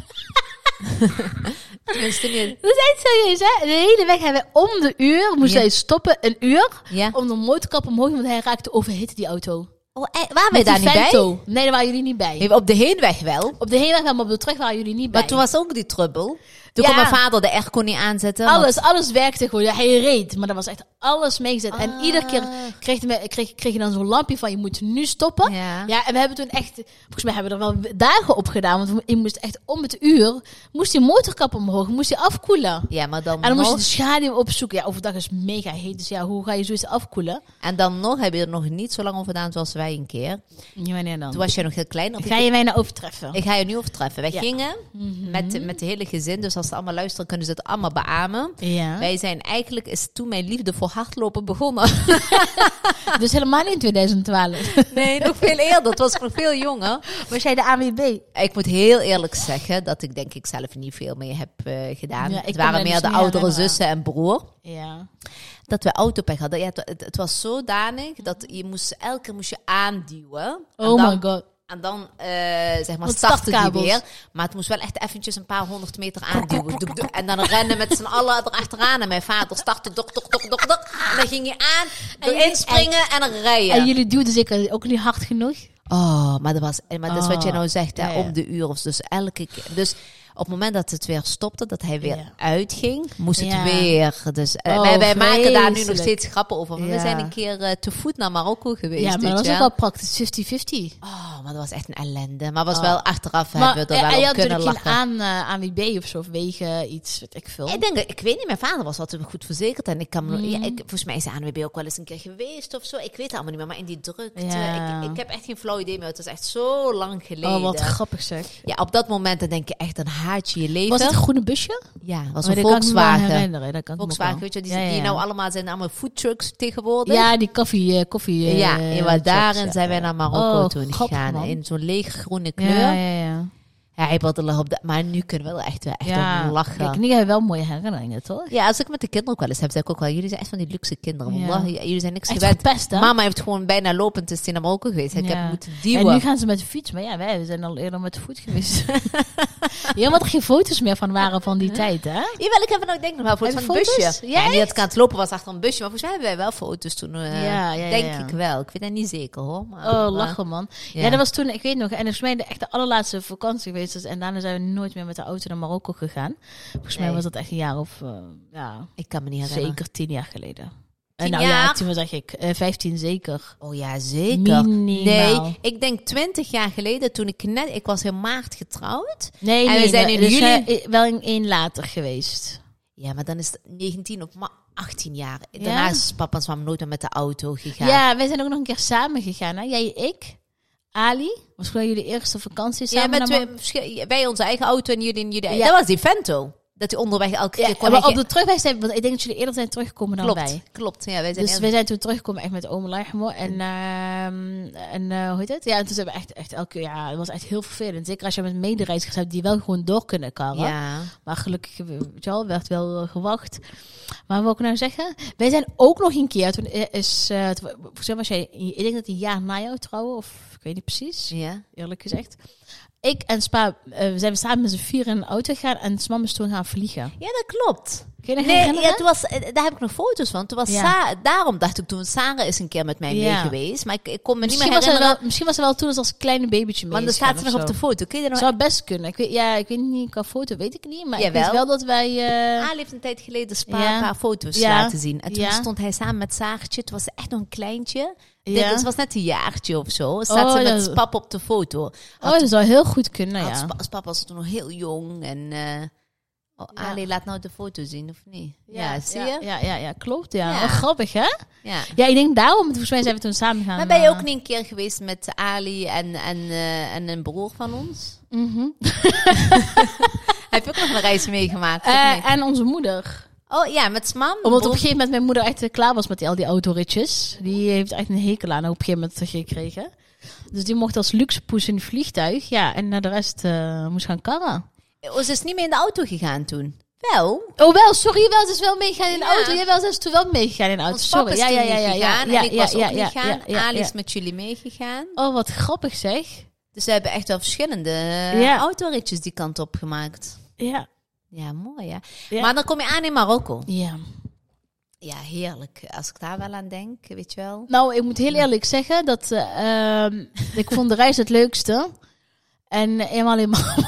A: [laughs] Tenminste niet.
B: We zijn serieus, hè? De hele weg hebben we om de uur, moesten
A: Ja.
B: wij stoppen, een uur,
A: Ja.
B: om de motorkap omhoog, want hij raakte overhit, die auto.
A: Oh, eh, waren wij
B: Met
A: daar
B: die
A: niet bij?
B: vento. Nee, daar waren jullie niet bij.
A: Even Op de heenweg wel.
B: Op de hele weg, maar op de terug waren jullie niet bij.
A: Maar toen was ook die trubbel. Toen
B: Ja.
A: kon mijn vader de airco niet aanzetten. want-
B: Alles, alles werkte gewoon. Ja, hij reed, maar er was echt alles meegezet. En
A: Ah.
B: iedere keer kreeg, hij me- kreeg, kreeg je dan zo'n lampje van je moet nu stoppen.
A: Ja.
B: en we hebben toen echt, volgens mij hebben we er wel dagen op gedaan. Want je moest echt om het uur, moest die motorkap omhoog, moest je afkoelen.
A: Ja, maar dan,
B: En dan moest je
A: nog,
B: de schaduw opzoeken. Ja, overdag is mega heet, dus ja, hoe ga je zoiets afkoelen?
A: en dan nog heb je er nog niet zo lang over gedaan zoals wij een keer.
B: Ja, wanneer dan?
A: Toen was jij nog heel klein. Of
B: Ga je mij nou overtreffen?
A: Ik ga je Mhm. nu overtreffen. Wij
B: Ja.
A: gingen met, met het hele gezin, dus als ze allemaal luisteren, kunnen ze het allemaal beamen.
B: [laughs] ja.
A: Wij zijn eigenlijk, is toen mijn liefde voor hardlopen begonnen.
B: Dus helemaal niet in 2012.
A: Nee, [laughs] nog veel eerder. Het was nog veel jonger.
B: [laughs] Was jij de AWB?
A: Ik moet heel eerlijk zeggen dat ik denk ik zelf niet veel mee heb eh, gedaan.
B: Ja, ik
A: het
B: kan
A: waren
B: me
A: meer
B: dus
A: de
B: niet
A: oudere
B: herinneren.
A: zussen en broer.
B: Ja.
A: dat we autopech hadden. Ja, het, het, het was zodanig dat je moest, elke keer moest je aanduwen.
B: Oh
A: en dan,
B: my god.
A: En dan, eh, zeg maar,
B: Wat
A: startte die
B: startkabels.
A: weer. Maar het moest wel echt eventjes een paar honderd meter aanduwen. Doek, doek. En dan rennen met z'n allen erachteraan. En mijn vader startte, dok, dok, dok, dok, dok. En dan ging je aan,
B: En je-
A: inspringen en dan rijden.
B: En jullie duwden zeker ook niet hard genoeg?
A: Oh, maar dat, was, eh, maar dat is wat jij
B: Oh,
A: nou zegt, hè,
B: ja, ja.
A: om de uur. of Dus elke keer. Dus op het moment dat het weer stopte, dat hij weer
B: Ja.
A: uitging, moest
B: Ja.
A: het weer. Dus, eh,
B: Oh,
A: wij wij maken daar nu nog
B: vreselijk.
A: steeds grappen over. want
B: Ja.
A: We zijn een keer eh, te voet naar Marokko geweest.
B: Ja, maar
A: weet
B: dat
A: je
B: was ook wel praktisch, 50-50.
A: Oh, maar dat was echt een ellende. Maar was
B: Oh.
A: wel achteraf
B: Maar
A: hebben we
B: eh,
A: er wel
B: hij
A: op
B: had
A: kunnen
B: natuurlijk
A: lachen.
B: geen aan, eh, ANWB of zo, of wegen, iets, weet ik Mm. veel.
A: Ik denk, ik weet niet, mijn vader was altijd goed verzekerd. En ik kan, me- ja, ik, volgens mij is de ANWB ook wel eens een keer geweest of zo. Ik weet het allemaal niet meer, maar in die drukte.
B: Ja.
A: Ik, ik heb echt geen flauw idee meer. Het is echt zo lang geleden.
B: oh, wat grappig zeg.
A: Ja, op dat moment dan denk je echt, dan haat je je leven.
B: Was het een groene busje?
A: ja, was
B: Oh,
A: een
B: dat kan ik me wel
A: Volkswagen.
B: herinneren, dat kan ik me ook
A: Volkswagen,
B: wel.
A: weet je, die,
B: Ja, ja,
A: die
B: ja.
A: nou allemaal zijn allemaal foodtrucks tegenwoordig.
B: Ja, die koffie... eh, koffie eh,
A: ja en maar
B: shops,
A: daarin
B: ja.
A: zijn wij naar Marokko
B: Oh,
A: toen
B: grappig,
A: gegaan.
B: man.
A: In zo'n leeg groene kleur.
B: Ja,
A: Ja,
B: ja, ja.
A: hij had er op de, maar nu kunnen we er echt, wel echt om lachen.
B: Kijk, nu hebben we wel mooie herinneringen, toch?
A: ja, als ik met de kinderen ook wel eens heb, zeg ik ook wel, jullie zijn echt van die luxe kinderen.
B: Ja.
A: Wallah, jullie zijn niks
B: Echt
A: gewend.
B: verpest, hè?
A: Mama heeft gewoon bijna lopend is die naar Marokko geweest. Ik
B: Ja.
A: heb moeten
B: En
A: duwen.
B: nu gaan ze met de fiets. Maar ja, wij zijn al eerder met de voet geweest. [laughs] ja, omdat er geen foto's meer van waren van die tijd, hè?
A: Jawel, ik heb er nou denk ik nog wel foto's
B: Heb
A: van
B: je
A: een
B: foto's?
A: busje.
B: Ja,
A: Ja, niet dat ik aan het lopen was achter een busje, maar volgens mij hebben wij wel foto's toen. eh,
B: Ja, ja, ja,
A: denk
B: ja.
A: ik wel. Ik weet dat niet zeker hoor. Maar,
B: Oh,
A: eh,
B: lachen, man. Ja.
A: ja.
B: dat was toen, ik weet nog, en volgens mij de, echt de allerlaatste vakantie geweest. Dus, en daarna zijn we nooit meer met de auto naar Marokko gegaan. Volgens mij
A: Nee.
B: was dat echt een jaar of, eh, ja,
A: Ik kan me niet herinneren.
B: zeker tien jaar geleden.
A: Tien
B: en nou ja,
A: jaar?
B: tien was ik, eh vijftien zeker.
A: Oh ja, zeker.
B: Minimaal.
A: Nee, ik denk twintig jaar geleden toen ik net, ik was in maart getrouwd.
B: Nee,
A: En we
B: nee,
A: zijn
B: nee,
A: in
B: dus
A: juli-
B: zijn we wel in één later geweest.
A: Ja, maar dan is het 19 of ma- 18 jaar.
B: Ja?
A: Daarna is papa en zwam nooit meer met de auto gegaan.
B: Ja. wij zijn ook nog een keer samen gegaan. Hè? Jij, ik, Ali. Was gewoon jullie eerste vakantie
A: Ja,
B: samen.
A: met
B: naar
A: twee,
B: Mar-
A: verschil- wij onze eigen auto en jullie in jullie
B: Ja.
A: eigen. Dat was die Vento. dat hij onderweg elke keer
B: Ja,
A: kon
B: maar
A: hij
B: op de terugweg zijn, want ik denk dat jullie eerder zijn teruggekomen dan
A: klopt,
B: wij.
A: klopt. Ja, wij zijn
B: Dus
A: heel-
B: wij zijn toen teruggekomen echt met Ome Lachmo en, ehm, en eh, hoe heet het? Ja, en toen zijn we echt, echt elke keer, ja, het was echt heel vervelend. Zeker als je met medereizigers hebt die wel gewoon door kunnen karren.
A: ja.
B: Maar gelukkig, eh, weet je wel, werd wel eh, gewacht. Maar wat wil ik nou zeggen? Wij zijn ook nog een keer, toen eh, is, eh, toen wa- volgens mij was jij, ik denk dat een jaar na jou trouwen, of ik weet niet precies,
A: ja.
B: eerlijk gezegd. Ik en Spa, eh, we zijn samen met z'n vier in een auto gegaan en Sam is toen gaan vliegen.
A: Ja, dat klopt.
B: Kun je dat
A: Nee,
B: herinneren?
A: ja, toen was, eh, daar heb ik nog foto's van. Toen was
B: Ja.
A: Sa- daarom dacht ik toen, Sarah is een keer met mij mee
B: Ja.
A: geweest. Maar ik, ik kon me niet
B: misschien,
A: meer
B: was
A: herinneren.
B: hij wel, misschien was hij wel toen als een kleine babytje mee.
A: want dan
B: is
A: staat ze
B: gegaan
A: nog op
B: of
A: de
B: zo.
A: foto. Kun je er nog...
B: Zou best kunnen. Ik weet, ja, ik weet niet, qua foto weet ik niet. Maar ik
A: Jawel.
B: weet wel dat wij... eh,
A: Ali Ah, heeft een tijd geleden Spa
B: Ja.
A: een paar foto's
B: Ja.
A: laten zien. En toen
B: Ja.
A: stond hij samen met Saartje. Het was echt nog een kleintje.
B: Ja.
A: Dit was net een jaartje of zo. Staat
B: Oh,
A: ze met
B: dat-
A: pap op de foto.
B: oh, dat zou heel goed kunnen,
A: Nou
B: ja.
A: papa was toen nog heel jong. En eh, oh,
B: Ja.
A: Ali, laat nou de foto zien, of niet? Ja, zie
B: ja,
A: je? Ja.
B: Ja, ja, ja, klopt. Ja.
A: Ja.
B: Wel grappig, hè? Ja, ik denk daarom. Volgens mij zijn we toen samen gaan.
A: Maar ben je
B: eh,
A: ook niet een keer geweest met Ali en, en, eh, en een broer van ons?
B: mhm.
A: [laughs] Heb je ook nog een reis meegemaakt? of
B: Eh,
A: niet?
B: en onze moeder.
A: oh ja, met mam.
B: Omdat op een
A: broer-
B: gegeven moment mijn moeder echt eh, klaar was met die, al die autoritjes. Die heeft echt een hekel aan op een gegeven moment gekregen. Dus die mocht als luxe poes in het vliegtuig. Ja, en naar de rest eh, moest gaan karren.
A: Oh, ze is niet meer in de auto gegaan toen. Wel.
B: Oh wel, sorry, wel, ze is wel meegegaan in de
A: Ja.
B: auto. Jij wel, ze is toen wel meegegaan in de auto.
A: Ons papa
B: Sorry,
A: is
B: ja,
A: toen
B: ja, ja,
A: niet
B: ja, ja,
A: gegaan
B: ja,
A: en ik was
B: ja,
A: ook
B: ja,
A: niet
B: ja,
A: gegaan.
B: ja, ja.
A: Ali is met jullie meegegaan.
B: Oh, wat grappig zeg.
A: Dus we hebben echt wel verschillende eh,
B: Ja.
A: autoritjes die kant op gemaakt.
B: Ja.
A: Ja, mooi ja.
B: Ja.
A: Maar dan kom je aan in Marokko.
B: Ja.
A: Ja, heerlijk. Als ik daar wel aan denk, weet je wel.
B: Nou, ik moet heel eerlijk zeggen dat eh, ehm, [laughs] ik vond de reis het leukste. En eenmaal in Mar-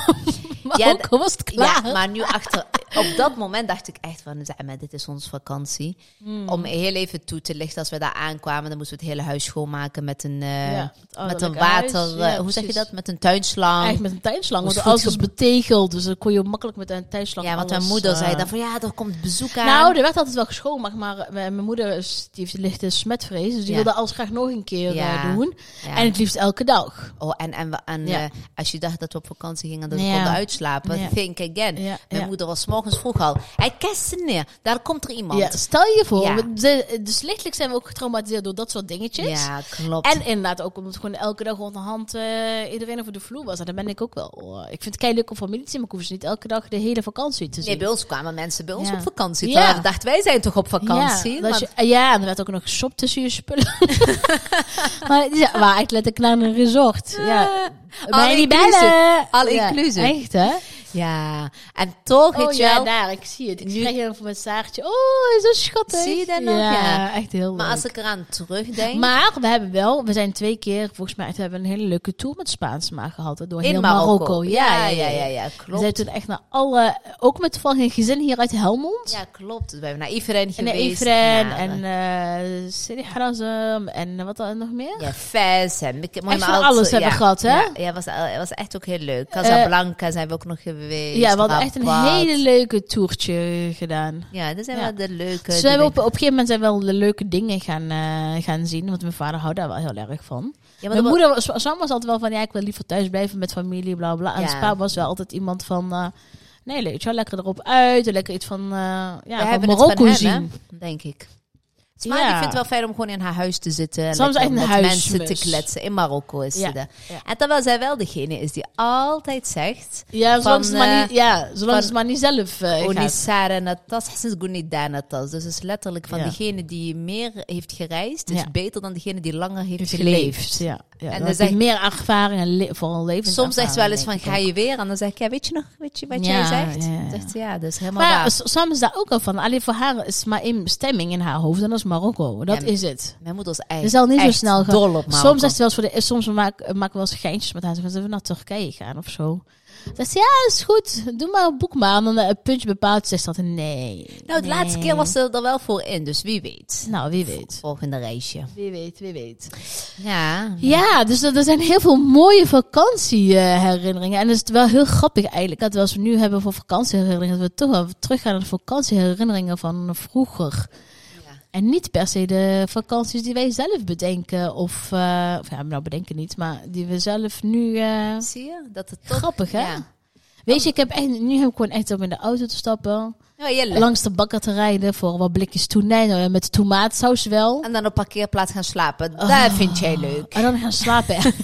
B: Marokko was het klaar.
A: Ja, maar nu achter... [laughs] Op dat moment dacht ik echt van, zeg maar, dit is onze vakantie.
B: Hmm.
A: Om heel even toe te lichten, als we daar aankwamen, dan moesten we het hele huis schoonmaken met een, eh,
B: Ja, het
A: met een
B: ouderlijke
A: water...
B: huis.
A: eh,
B: Ja,
A: hoe zeg je
B: precies.
A: dat? Met een tuinslang.
B: Eigenlijk met een tuinslang,
A: Moest
B: want
A: goed
B: alles was betegeld. Dus dan kon je makkelijk met een tuinslang
A: ja, want
B: alles,
A: mijn moeder
B: eh,
A: zei dan van, ja, er komt bezoek aan.
B: Nou, er werd altijd wel geschoonmaakt, maar eh, mijn moeder is, die heeft lichte smetvrees. Dus die
A: Ja.
B: wilde alles graag nog een keer eh,
A: Ja.
B: doen.
A: Ja.
B: En het liefst elke dag.
A: Oh, en, en, we- en
B: Ja.
A: eh, als je dacht dat we op vakantie gingen, dat we
B: Ja.
A: konden uitslapen.
B: Ja.
A: Think again.
B: Ja,
A: Mijn
B: ja.
A: moeder was 's morgens vroeg al. Hij kast neer. Daar komt er iemand.
B: Ja, stel je voor.
A: Ja.
B: we- ze- Dus lichtelijk zijn we ook getraumatiseerd door dat soort dingetjes.
A: Ja, klopt.
B: En inderdaad ook omdat gewoon elke dag onder hand eh, iedereen over de vloer was. En daar ben ik ook wel. eh, ik vind het kei leuk om familie te zien, maar ik hoef ze niet elke dag de hele vakantie te
A: Nee,
B: zien.
A: bij ons kwamen mensen bij ons
B: Ja.
A: op vakantie.
B: Ja.
A: Terwijl ik dacht, wij zijn toch op vakantie?
B: ja, dat
A: Want-
B: je- eh, ja, en er werd ook nog geshopt tussen je spullen. [laughs] maar die waren eigenlijk letterlijk naar een resort. Ja.
A: all
B: Bij die
A: inclusive.
B: bellen.
A: All
B: Ja,
A: inclusive.
B: Echt, hè?
A: ja. en toch,
B: Oh
A: weet je
B: ja,
A: wel,
B: daar, ik zie het. Ik
A: Nu-
B: krijg je dan van mijn staartje. Oh, is dat schattig.
A: Zie je dat nog?
B: Ja,
A: Ja.
B: echt heel leuk.
A: Maar als ik eraan terugdenk,
B: Maar we hebben wel, we zijn twee keer, volgens mij, we hebben een hele leuke tour met Spaans maar gehad. hè, Door
A: in
B: heel
A: Marokko.
B: Marokko.
A: Ja, ja, ja, ja,
B: We
A: klopt.
B: zijn toen echt naar alle, ook met toevallig een gezin hier uit Helmond.
A: Ja, klopt. We hebben naar Ifren
B: en naar
A: geweest.
B: Ifren
A: naar,
B: en eh Sidi Harazem en eh, wat dan nog meer?
A: Ja, Fes en ik
B: Echt van alles hebben we gehad, hè?
A: Ja, ja was, eh, was echt ook heel leuk. Casablanca zijn we ook nog geweest.
B: Ja, we hadden echt een
A: Rabat.
B: hele leuke toertje gedaan.
A: Ja, dat zijn
B: Ja.
A: wel de leuke.
B: Dus we
A: de
B: hebben op, op
A: dingen.
B: een gegeven moment zijn we wel de leuke dingen gaan, eh, gaan zien. Want mijn vader houdt daar wel heel erg van.
A: Ja, maar
B: Mijn
A: dat
B: moeder was, Sam was altijd wel van, ja, ik wil liever thuis blijven met familie, bla bla. En
A: Ja.
B: Spa was wel altijd iemand van, eh, nee, leuk, ja, lekker erop uit, lekker iets van, eh,
A: we
B: ja, van
A: hebben het
B: Marokko
A: van hem,
B: zien.
A: hè, denk ik. Maar
B: Ja.
A: die vindt het wel fijn om gewoon in haar huis te zitten. en
B: Soms
A: lekker
B: echt een
A: met
B: huismus.
A: mensen te kletsen. In Marokko is
B: Ja,
A: ze dat.
B: ja.
A: En terwijl zij wel degene is die altijd zegt...
B: Ja, zolang,
A: Van,
B: ze, maar niet,
A: eh,
B: ja, zolang
A: van-
B: ze maar niet zelf eh,
A: Oni
B: gaat.
A: Sara Natas, Hassan Gouni Da Natas. Dus is letterlijk van
B: Ja.
A: degene die meer heeft gereisd... is
B: Ja.
A: beter dan degene die langer heeft geleefd.
B: Geleefd, ja. ja.
A: dan
B: En dan
A: zegt-
B: zegt meer ervaring en le- vooral leven.
A: Soms zegt ze wel eens van, ga je weer? En dan zeg ik, ja, weet je nog weet je wat jij
B: Ja,
A: zegt?
B: ja, ja.
A: Dan zegt ze, ja, dat is helemaal
B: Maar
A: waar.
B: s- Sam is daar ook al van. Alleen voor haar is maar één stemming in haar hoofd en dat is Marokko. Dat
A: Ja,
B: is het.
A: Mijn moeder is echt,
B: Ze zal niet zo
A: echt
B: snel gaan.
A: dol op Marokko.
B: Soms zegt ze wel eens voor de, soms maak, maken we wel eens geintjes met haar. Ze zeggen, we naar Turkije gaan of zo. Zegt ze, ja, is goed. Doe maar een boek maar. En dan eh, een puntje bepaald. Zegt dat, nee.
A: Nou, de
B: nee.
A: laatste keer was ze er wel voor in, dus wie weet.
B: Nou, wie weet.
A: Volgende reisje.
B: Wie weet, wie weet.
A: Ja.
B: Ja, dus er er zijn heel veel mooie vakantieherinneringen. En het is wel heel grappig eigenlijk. Dat we als we nu hebben voor vakantieherinneringen. Dat we toch wel teruggaan naar de vakantieherinneringen van vroeger. En niet per se de vakanties die wij zelf bedenken. Of, eh, of ja, nou bedenken niet. Maar die we zelf nu... eh,
A: Zie je? Dat het toch...
B: Grappig, hè?
A: Ja.
B: Weet je, ik heb echt, nu heb ik gewoon echt om in de auto te stappen.
A: Ja, heerlijk.
B: Langs de bakker te rijden voor wat blikjes tonijn eh, met tomaatsaus wel.
A: En dan op parkeerplaats gaan slapen.
B: Oh.
A: Dat vind jij leuk.
B: En Oh, dan gaan slapen. [laughs]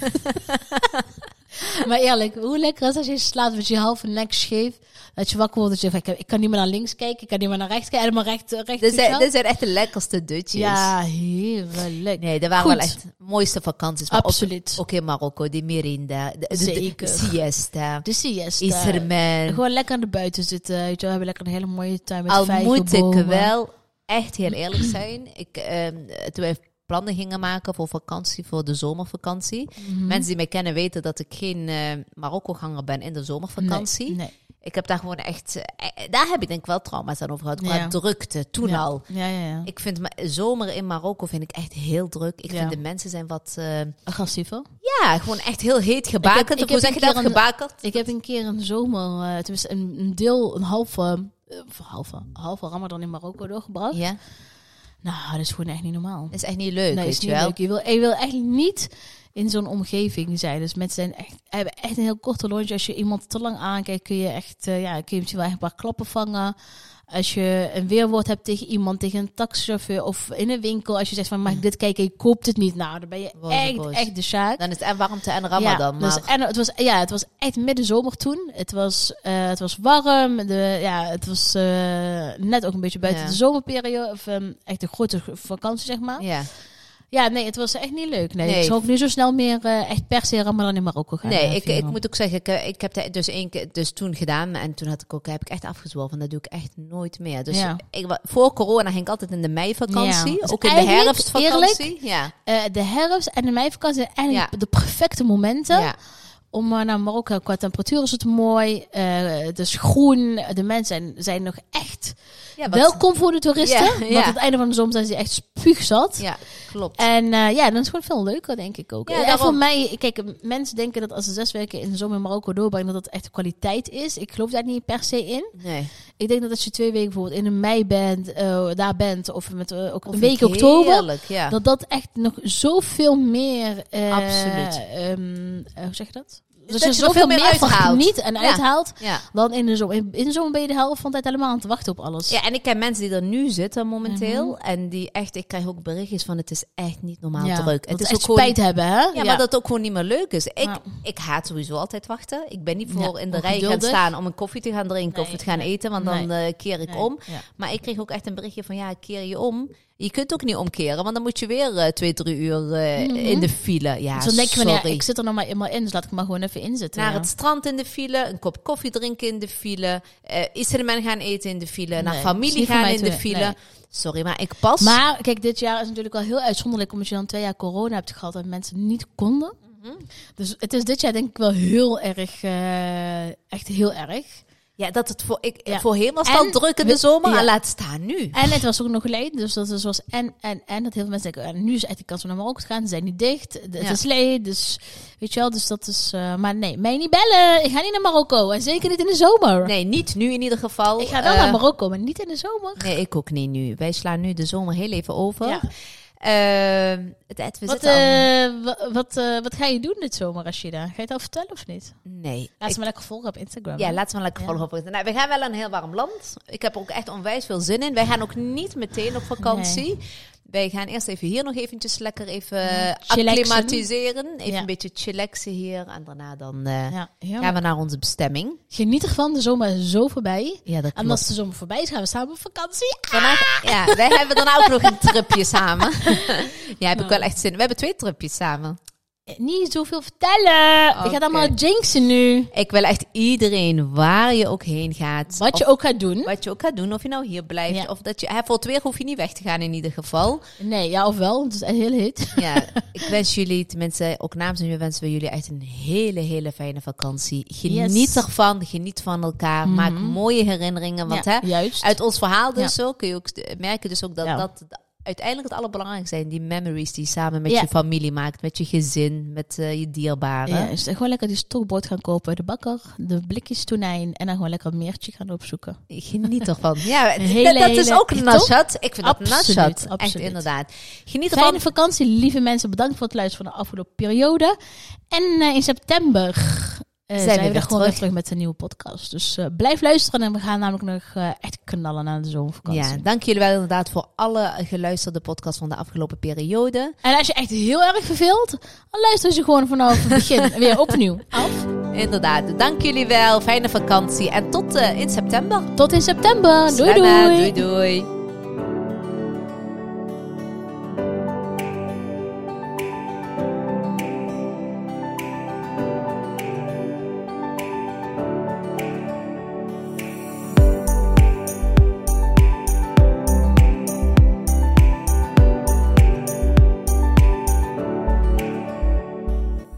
B: maar eerlijk, hoe lekker is als je slaapt met je halve nek scheef. Dat je wakker wordt en je zegt, ik, ik kan niet meer naar links kijken, ik kan niet meer naar rechts kijken. En maar recht, eh, recht
A: Dit
B: weet je
A: zijn,
B: wel?
A: dit zijn echt de lekkerste dutjes.
B: Ja, heerlijk.
A: dus- Nee, dat waren
B: Goed.
A: wel echt de mooiste vakanties. Maar ook-
B: Absoluut.
A: Ook, in Marokko, die merinda, de, de- de
B: Zeker.
A: siesta,
B: De siesta.
A: Isermen.
B: Gewoon lekker aan de buiten zitten. Weet je, wel. we hebben lekker een hele mooie tuin met
A: Al
B: vijgenbomen.
A: moet ik wel echt heel eerlijk zijn. Ik, ehm, toen wij plannen gingen maken voor vakantie, voor de zomervakantie.
B: Mhm.
A: Mensen die mij kennen weten dat ik geen eh Marokko-ganger ben in de zomervakantie.
B: Nee, nee.
A: Ik heb daar gewoon echt... eh, daar heb ik denk ik wel trauma's aan over gehad. Qua
B: Ja.
A: drukte, toen
B: Ja.
A: al.
B: Ja, ja, ja.
A: Ik vind ma- zomer in Marokko vind ik echt heel druk. Ik
B: Ja.
A: vind de mensen zijn wat... eh,
B: Agressiever.
A: ja, gewoon echt heel heet gebakerd.
B: Ik heb- ik
A: Hoe
B: heb
A: zeg
B: een
A: je dat?
B: keer een-
A: Gebakerd?
B: Ik heb een keer een zomer, eh tenminste een, een deel, een halve, eh, of halve, halve ramadan in Marokko doorgebracht.
A: Ja,
B: Nou, dat is gewoon echt niet normaal.
A: dat is echt niet leuk,
B: nee,
A: weet
B: is
A: je
B: niet
A: wel.
B: leuk. Je wil, je wil eigenlijk niet in zo'n omgeving zijn. Dus mensen zijn echt, hebben echt een heel korte lontje. Als je iemand te lang aankijkt, kun je echt, eh, ja, kun je misschien wel echt een paar klappen vangen. Als je een weerwoord hebt tegen iemand, tegen een taxichauffeur of in een winkel. Als je zegt van, mag ik
A: Mm.
B: dit kijken? Ik koop dit niet. Nou, dan ben je
A: Word je
B: echt,
A: boos.
B: echt de sjaak.
A: Dan is het en warmte en ramadan.
B: Ja,
A: maar
B: dus, en het was, ja, het was echt midden zomer toen. Het was, eh, het was warm. De, ja, het was eh, net ook een beetje buiten
A: Ja.
B: de zomerperiode. Of ehm, echt een grote vakantie, zeg maar.
A: ja.
B: Ja, nee, het was echt niet leuk. Nee,
A: Nee.
B: Ik zou ook nu zo snel meer eh, echt per se Ramadan in Marokko gaan. eh,
A: Nee, ik, ik
B: vieren.
A: moet ook zeggen, ik, eh, ik heb dat dus één keer dus toen gedaan. En toen had ik ook, heb ik echt afgezworven. Dat doe ik echt nooit meer. Dus
B: Ja.
A: ik, wa- voor corona ging ik altijd in de meivakantie.
B: Ja. Dus
A: Ook in de
B: eigenlijk,
A: herfstvakantie. ja.
B: Eh, de herfst en de meivakantie zijn eigenlijk
A: Ja.
B: de perfecte momenten
A: ja.
B: om eh, naar Marokko. Qua temperatuur is het mooi. eh, het is groen. De mensen zijn, zijn nog echt
A: ja wat-
B: welkom voor de toeristen.
A: Ja,
B: Want
A: ja.
B: aan het einde van de zomer zijn ze echt spuugzat.
A: Ja, klopt.
B: En eh, ja, dan is het gewoon veel leuker, denk ik ook.
A: Ja,
B: en
A: daarom.
B: voor mij, kijk, mensen denken dat als ze zes weken in de zomer in Marokko doorbrengen, dat dat echt kwaliteit is. Ik geloof daar niet per se in.
A: nee.
B: Ik denk dat als je twee weken bijvoorbeeld in een mei bent, eh, daar bent, of met eh, ook
A: Of
B: een week
A: heerlijk,
B: oktober,
A: ja.
B: dat dat echt nog zoveel meer. eh,
A: Absoluut.
B: ehm, eh, hoe zeg je dat?
A: dat je er veel meer
B: van
A: uithaalt.
B: geniet en
A: Ja.
B: uithaalt
A: ja.
B: dan in de zomer. In, in de zomer ben je de helft van de tijd helemaal aan het wachten op alles.
A: Ja, en ik ken mensen die er nu zitten momenteel.
B: Mhm.
A: En die echt, ik krijg ook berichtjes van het is echt niet normaal
B: Ja,
A: druk.
B: dat
A: Het is
B: echt
A: ook gewoon-
B: spijt hebben, hè?
A: Ja, maar dat het ook gewoon niet meer leuk is. Ik,
B: Ja.
A: ik haat sowieso altijd wachten. Ik ben niet
B: Ja,
A: voor in de rij gaan
B: ongeduldig.
A: staan om een koffie te gaan drinken of
B: Nee,
A: het gaan eten, want dan eh, keer ik
B: Nee,
A: om.
B: ja.
A: Maar ik kreeg ook echt een berichtje van ja, keer je om. Je kunt ook niet omkeren, want dan moet je weer eh, twee, drie uur eh, in de file. Ja,
B: Mhm. Dus dan denk je van,
A: sorry.
B: ja, ik zit er nog maar eenmaal in, dus laat ik maar gewoon even inzitten.
A: Naar
B: ja.
A: het strand in de file, een kop koffie drinken in de file, eh Isermen gaan eten in de file, naar
B: Nee, is
A: familie
B: niet voor
A: gaan
B: mij
A: in
B: te-
A: de file.
B: nee.
A: Sorry, maar ik pas.
B: Maar kijk, dit jaar is natuurlijk wel heel uitzonderlijk omdat je dan twee jaar corona hebt gehad en mensen niet konden.
A: Mhm.
B: Dus het is dit jaar denk ik wel heel erg, eh, echt heel erg.
A: ja, dat het voor, ik,
B: Ja.
A: voorheen was
B: En-
A: dat druk in de zomer,
B: Ja.
A: en laat staan nu.
B: En het was ook nog leed, dus dat is was en, en, en. Dat heel veel mensen denken, eh, nu is echt de kans om naar Marokko te gaan, ze zijn niet dicht, het
A: Ja.
B: is leed, dus weet je wel, dus dat is... eh, maar nee, mij niet bellen, ik ga niet naar Marokko en zeker niet in de zomer.
A: Nee, niet nu in ieder geval.
B: Ik ga wel
A: Eh,
B: naar Marokko, maar niet in de zomer.
A: Nee, ik ook niet nu. Wij slaan nu de zomer heel even over.
B: Ja.
A: Ehm, het, het- we
B: Wat,
A: zitten al-
B: eh, wa- wat, eh, wat ga je doen dit zomer, Rashida? Ga je het al vertellen of niet?
A: Nee.
B: Laat
A: Ik-
B: ze me lekker volgen op Instagram.
A: ja,
B: hè?
A: laten we lekker
B: Ja.
A: volgen op. Nou, we gaan wel naar een heel warm land. Ik heb er ook echt onwijs veel zin in. Wij gaan ook niet meteen op vakantie. Wij gaan eerst even hier nog eventjes lekker even
B: chillaxen.
A: acclimatiseren. Even
B: Ja.
A: een beetje chillaxen hier. En daarna dan eh,
B: Ja, ja.
A: gaan we naar onze bestemming.
B: Geniet ervan, de zomer is zo voorbij.
A: Ja, dat
B: En als de zomer voorbij is, gaan we samen op vakantie.
A: Daarna, ja, wij hebben daarna ook nog een
B: [laughs]
A: tripje samen. ja, heb ik wel echt zin in. We hebben twee tripjes samen.
B: Eh, Niet zoveel vertellen. Ik ga
A: Oké.
B: dan maar jinxen nu.
A: Ik wil echt iedereen, waar je ook heen gaat.
B: Wat
A: of
B: je ook gaat doen.
A: wat je ook gaat doen, of je nou hier blijft.
B: Ja.
A: Of dat je, hè, voor het weer hoef je niet weg te gaan in ieder geval.
B: Nee, ja of wel, het is echt heel hit.
A: Ja, ik wens jullie, tenminste ook namens jullie, wensen we jullie echt een hele, hele fijne vakantie. Geniet
B: Yes. Mhm.
A: ervan, geniet van elkaar, maak mooie herinneringen. Want hè,
B: Juist.
A: uit ons verhaal dus ook, kun je ook eh, merken dus ook dat
B: Ja.
A: dat de- uiteindelijk het allerbelangrijkste zijn. Die memories die je samen met
B: Ja.
A: je familie maakt, met je gezin, met eh, je dierbaren.
B: Ja, is gewoon lekker die stokbrood gaan kopen bij de bakker, de blikjes tonijn en dan gewoon lekker een meertje gaan opzoeken.
A: Geniet
B: [laughs]
A: ervan. Ja,
B: Een hele,
A: dat, dat is
B: hele-
A: ook
B: toch?
A: nashat. Ik vind
B: Absoluut,
A: dat nashat. Echt
B: absoluut.
A: inderdaad. Geniet
B: Fijne
A: ervan.
B: vakantie, lieve mensen. Bedankt voor het luisteren van de afgelopen periode. En eh, in september eh,
A: Zijn
B: zijn,
A: we
B: we er
A: weer
B: gewoon weer
A: terug.
B: terug met een nieuwe podcast. Dus eh, blijf luisteren en we gaan namelijk nog eh, echt knallen aan de zomervakantie.
A: Ja, dank jullie wel inderdaad voor alle geluisterde podcasts van de afgelopen periode.
B: En als je echt heel erg verveelt, dan luister je gewoon vanaf het begin [laughs] weer opnieuw af.
A: Inderdaad, dank jullie wel. Fijne vakantie en tot eh, in september.
B: Tot in september. Doei
A: Bye bye.
B: doei.
A: doei, doei.